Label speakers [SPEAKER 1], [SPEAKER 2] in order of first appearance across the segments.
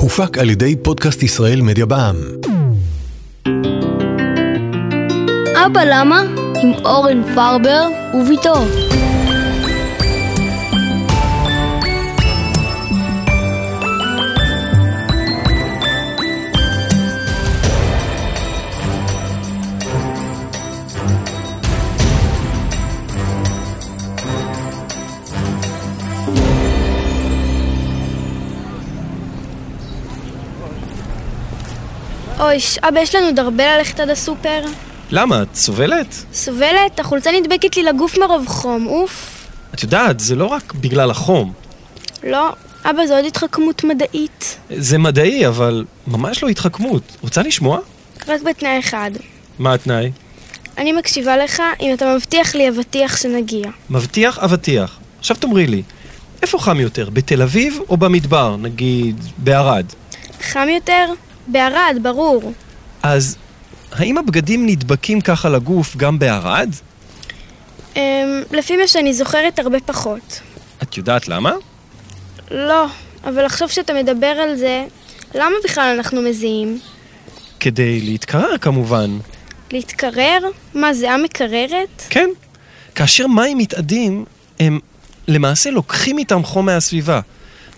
[SPEAKER 1] הופק על ידי פודקאסט ישראל מדיה בע"מ.
[SPEAKER 2] אבא למה? עם אורן פרבר וביתו. אוי, ש- אבא, יש לנו עוד הרבה ללכת עד הסופר.
[SPEAKER 3] למה? את סובלת?
[SPEAKER 2] סובלת, החולצה נדבקת לי לגוף מרוב חום, אוף.
[SPEAKER 3] את יודעת, זה לא רק בגלל החום.
[SPEAKER 2] לא, אבא, זו עוד התחכמות מדעית.
[SPEAKER 3] זה מדעי, אבל ממש לא התחכמות. רוצה לשמוע?
[SPEAKER 2] רק בתנאי אחד.
[SPEAKER 3] מה התנאי?
[SPEAKER 2] אני מקשיבה לך אם אתה מבטיח לי אבטיח שנגיע.
[SPEAKER 3] מבטיח אבטיח. עכשיו תאמרי לי, איפה חם יותר, בתל אביב או במדבר, נגיד בערד?
[SPEAKER 2] חם יותר? בערד, ברור.
[SPEAKER 3] אז האם הבגדים נדבקים ככה לגוף גם בערד?
[SPEAKER 2] אמ, לפי מה שאני זוכרת, הרבה פחות.
[SPEAKER 3] את יודעת למה?
[SPEAKER 2] לא, אבל לחשוב שאתה מדבר על זה, למה בכלל אנחנו מזיעים?
[SPEAKER 3] כדי להתקרר כמובן.
[SPEAKER 2] להתקרר? מה, זיעה מקררת?
[SPEAKER 3] כן. כאשר מים מתאדים, הם למעשה לוקחים איתם חום מהסביבה.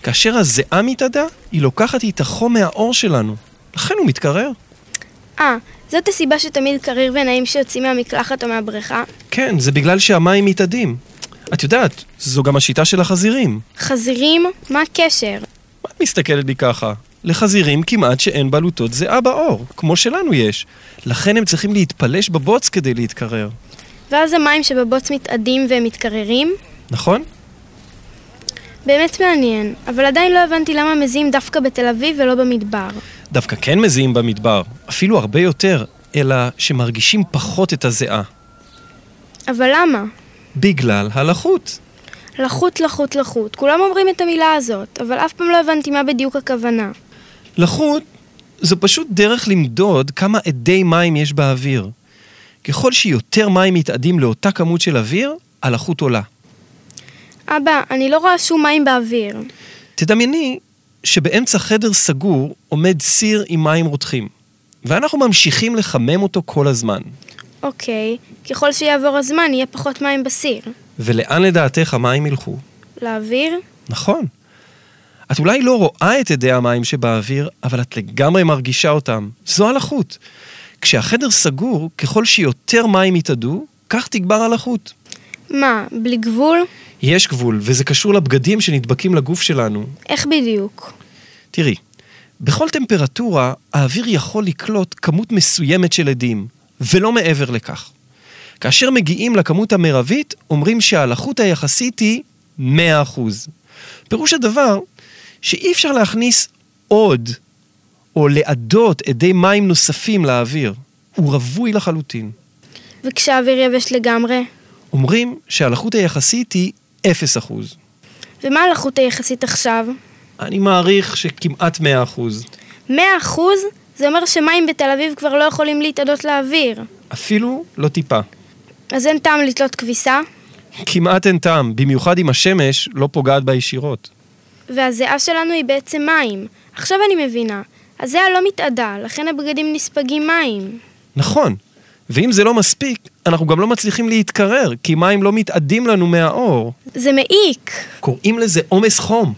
[SPEAKER 3] כאשר הזיעה מתאדה, היא לוקחת איתה חום מהאור שלנו. לכן הוא מתקרר.
[SPEAKER 2] אה, זאת הסיבה שתמיד קריר ונעים שיוצאים מהמקלחת או מהבריכה?
[SPEAKER 3] כן, זה בגלל שהמים מתאדים. את יודעת, זו גם השיטה של החזירים.
[SPEAKER 2] חזירים? מה הקשר?
[SPEAKER 3] מה את מסתכלת בי ככה? לחזירים כמעט שאין בלוטות זיעה בעור, כמו שלנו יש. לכן הם צריכים להתפלש בבוץ כדי להתקרר.
[SPEAKER 2] ואז המים שבבוץ מתאדים והם מתקררים?
[SPEAKER 3] נכון?
[SPEAKER 2] באמת מעניין, אבל עדיין לא הבנתי למה מזיעים דווקא בתל אביב ולא במדבר.
[SPEAKER 3] דווקא כן מזיעים במדבר, אפילו הרבה יותר, אלא שמרגישים פחות את הזיעה.
[SPEAKER 2] אבל למה?
[SPEAKER 3] בגלל הלחות.
[SPEAKER 2] לחות, לחות, לחות. כולם אומרים את המילה הזאת, אבל אף פעם לא הבנתי מה בדיוק הכוונה.
[SPEAKER 3] לחות זו פשוט דרך למדוד כמה אדי מים יש באוויר. ככל שיותר מים מתאדים לאותה כמות של אוויר, הלחות עולה.
[SPEAKER 2] אבא, אני לא רואה שום מים באוויר.
[SPEAKER 3] תדמייני שבאמצע חדר סגור עומד סיר עם מים רותחים, ואנחנו ממשיכים לחמם אותו כל הזמן.
[SPEAKER 2] אוקיי, ככל שיעבור הזמן יהיה פחות מים בסיר.
[SPEAKER 3] ולאן לדעתך המים ילכו?
[SPEAKER 2] לאוויר?
[SPEAKER 3] נכון. את אולי לא רואה את אדי המים שבאוויר, אבל את לגמרי מרגישה אותם. זו הלחות. כשהחדר סגור, ככל שיותר מים יתאדו, כך תגבר הלחות.
[SPEAKER 2] מה, בלי גבול?
[SPEAKER 3] יש גבול, וזה קשור לבגדים שנדבקים לגוף שלנו.
[SPEAKER 2] איך בדיוק?
[SPEAKER 3] תראי, בכל טמפרטורה האוויר יכול לקלוט כמות מסוימת של אדים, ולא מעבר לכך. כאשר מגיעים לכמות המרבית, אומרים שהלחות היחסית היא 100%. פירוש הדבר שאי אפשר להכניס עוד או לעדות אדי מים נוספים לאוויר. הוא רווי לחלוטין.
[SPEAKER 2] וכשהאוויר יבש לגמרי?
[SPEAKER 3] אומרים שהלחות היחסית היא 0%.
[SPEAKER 2] ומה הלחות היחסית עכשיו?
[SPEAKER 3] אני מעריך שכמעט 100%.
[SPEAKER 2] 100% זה אומר שמים בתל אביב כבר לא יכולים להתאדות לאוויר.
[SPEAKER 3] אפילו לא טיפה.
[SPEAKER 2] אז אין טעם לתלות כביסה,
[SPEAKER 3] כמעט אין טעם, במיוחד אם השמש לא פוגעת בה ישירות.
[SPEAKER 2] והזיעה שלנו היא בעצם מים. עכשיו אני מבינה. הזיעה לא מתאדה, לכן הבגדים נספגים מים.
[SPEAKER 3] נכון, ואם זה לא מספיק, אנחנו גם לא מצליחים להתקרר, כי מים לא מתאדים לנו מהאור.
[SPEAKER 2] זה מעיק.
[SPEAKER 3] קוראים לזה עומס חום.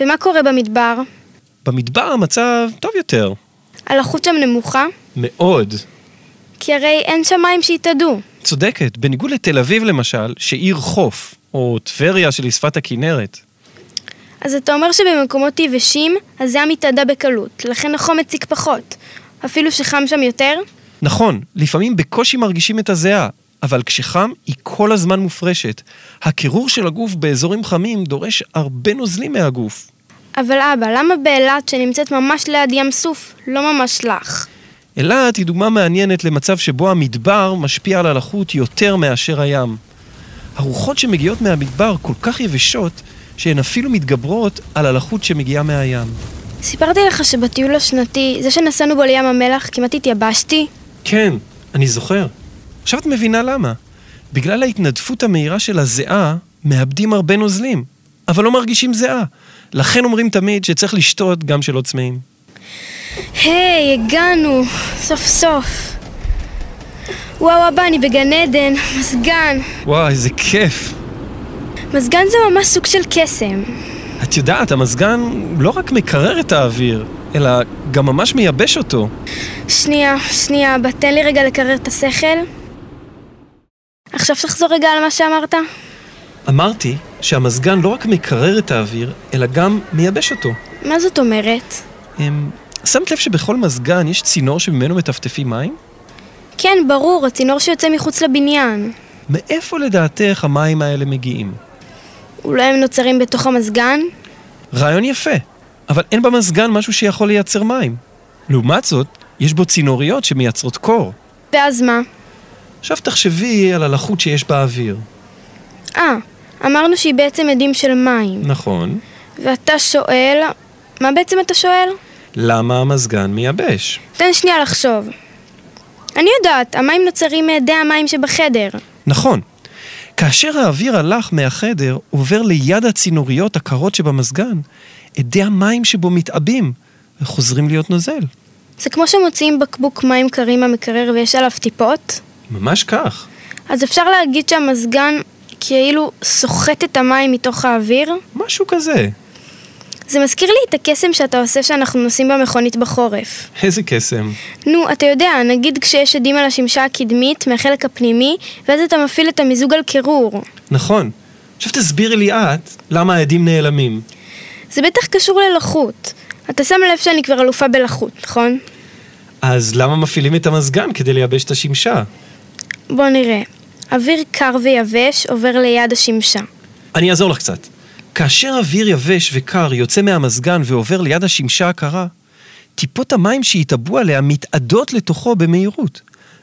[SPEAKER 2] ומה קורה במדבר?
[SPEAKER 3] במדבר המצב טוב יותר.
[SPEAKER 2] הלחות שם נמוכה?
[SPEAKER 3] מאוד.
[SPEAKER 2] כי הרי אין שם מים שהתאדו.
[SPEAKER 3] צודקת, בניגוד לתל אביב למשל, שעיר חוף, או טבריה שלשפת הכינרת.
[SPEAKER 2] אז אתה אומר שבמקומות יבשים, הזיעה מתאדה בקלות, לכן החום מציק פחות. אפילו שחם שם יותר?
[SPEAKER 3] נכון, לפעמים בקושי מרגישים את הזיעה, אבל כשחם היא כל הזמן מופרשת. הקירור של הגוף באזורים חמים דורש הרבה נוזלים מהגוף.
[SPEAKER 2] אבל אבא, למה באילת שנמצאת ממש ליד ים סוף, לא ממש לך?
[SPEAKER 3] אילת היא דוגמה מעניינת למצב שבו המדבר משפיע על הלחות יותר מאשר הים. הרוחות שמגיעות מהמדבר כל כך יבשות, שהן אפילו מתגברות על הלחות שמגיעה מהים.
[SPEAKER 2] סיפרתי לך שבטיול השנתי, זה שנסענו בו לים המלח, כמעט התייבשתי?
[SPEAKER 3] כן, אני זוכר. עכשיו את מבינה למה. בגלל ההתנדפות המהירה של הזיעה, מאבדים הרבה נוזלים. אבל לא מרגישים זיעה. לכן אומרים תמיד שצריך לשתות גם שלא צמאים.
[SPEAKER 2] היי, הגענו, סוף סוף. וואו אבא, אני בגן עדן, מזגן.
[SPEAKER 3] וואי, איזה כיף.
[SPEAKER 2] מזגן זה ממש סוג של קסם.
[SPEAKER 3] את יודעת, המזגן לא רק מקרר את האוויר, אלא גם ממש מייבש אותו.
[SPEAKER 2] שנייה, שנייה, אבא, תן לי רגע לקרר את השכל. עכשיו תחזור רגע על מה שאמרת.
[SPEAKER 3] אמרתי שהמזגן לא רק מקרר את האוויר, אלא גם מייבש אותו.
[SPEAKER 2] מה זאת אומרת?
[SPEAKER 3] אמ, שמת לב שבכל מזגן יש צינור שממנו מטפטפים מים?
[SPEAKER 2] כן, ברור, הצינור שיוצא מחוץ לבניין.
[SPEAKER 3] מאיפה לדעתך המים האלה מגיעים?
[SPEAKER 2] אולי הם נוצרים בתוך המזגן?
[SPEAKER 3] רעיון יפה, אבל אין במזגן משהו שיכול לייצר מים. לעומת זאת, יש בו צינוריות שמייצרות קור.
[SPEAKER 2] ואז מה?
[SPEAKER 3] עכשיו תחשבי על הלחות שיש באוויר.
[SPEAKER 2] אה, אמרנו שהיא בעצם אדים של מים.
[SPEAKER 3] נכון.
[SPEAKER 2] ואתה שואל... מה בעצם אתה שואל?
[SPEAKER 3] למה המזגן מייבש?
[SPEAKER 2] תן שנייה לחשוב. אני יודעת, המים נוצרים מאדי המים שבחדר.
[SPEAKER 3] נכון. כאשר האוויר הלך מהחדר, עובר ליד הצינוריות הקרות שבמזגן, אדי המים שבו מתעבים וחוזרים להיות נוזל.
[SPEAKER 2] זה כמו שמוציאים בקבוק מים קרים מהמקרר ויש עליו טיפות?
[SPEAKER 3] ממש כך.
[SPEAKER 2] אז אפשר להגיד שהמזגן כאילו סוחט את המים מתוך האוויר?
[SPEAKER 3] משהו כזה.
[SPEAKER 2] זה מזכיר לי את הקסם שאתה עושה כשאנחנו נוסעים במכונית בחורף.
[SPEAKER 3] איזה קסם.
[SPEAKER 2] נו, אתה יודע, נגיד כשיש עדים על השמשה הקדמית מהחלק הפנימי, ואז אתה מפעיל את המיזוג על קירור.
[SPEAKER 3] נכון. עכשיו תסבירי לי את למה העדים נעלמים.
[SPEAKER 2] זה בטח קשור ללחות. אתה שם לב שאני כבר אלופה בלחות, נכון?
[SPEAKER 3] אז למה מפעילים את המזגן כדי לייבש את השמשה?
[SPEAKER 2] בוא נראה. אוויר קר ויבש עובר ליד השמשה.
[SPEAKER 3] אני אעזור לך קצת. כאשר אוויר יבש וקר יוצא מהמזגן ועובר ליד השמשה הקרה, טיפות המים שהתאבו עליה מתאדות לתוכו במהירות.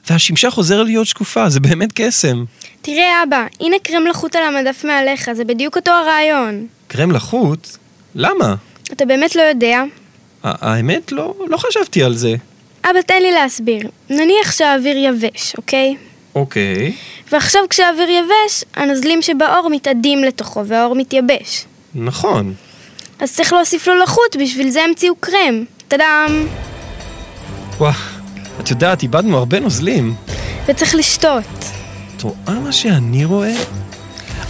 [SPEAKER 3] והשמשה חוזרת להיות שקופה, זה באמת קסם.
[SPEAKER 2] תראה, אבא, הנה קרם לחות על המדף מעליך, זה בדיוק אותו הרעיון.
[SPEAKER 3] קרם לחוט? למה?
[SPEAKER 2] אתה באמת לא יודע?
[SPEAKER 3] ה- האמת, לא, לא חשבתי על זה.
[SPEAKER 2] אבא, תן לי להסביר. נניח שהאוויר יבש, אוקיי?
[SPEAKER 3] אוקיי,
[SPEAKER 2] ועכשיו כשהאוויר יבש, הנוזלים שבאור מתאדים לתוכו והאור מתייבש.
[SPEAKER 3] נכון.
[SPEAKER 2] אז צריך להוסיף לו לחות, בשביל זה המציאו קרם. טאדאם.
[SPEAKER 3] וואו, את יודעת, איבדנו הרבה נוזלים.
[SPEAKER 2] וצריך לשתות.
[SPEAKER 3] את רואה מה שאני רואה?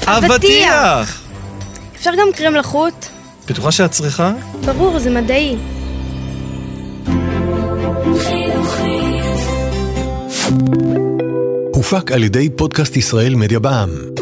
[SPEAKER 2] אבטיח! אפשר גם קרם לחות?
[SPEAKER 3] בטוחה שאת צריכה?
[SPEAKER 2] ברור, זה מדעי.
[SPEAKER 1] הופק על ידי פודקאסט ישראל מדיה בע"מ.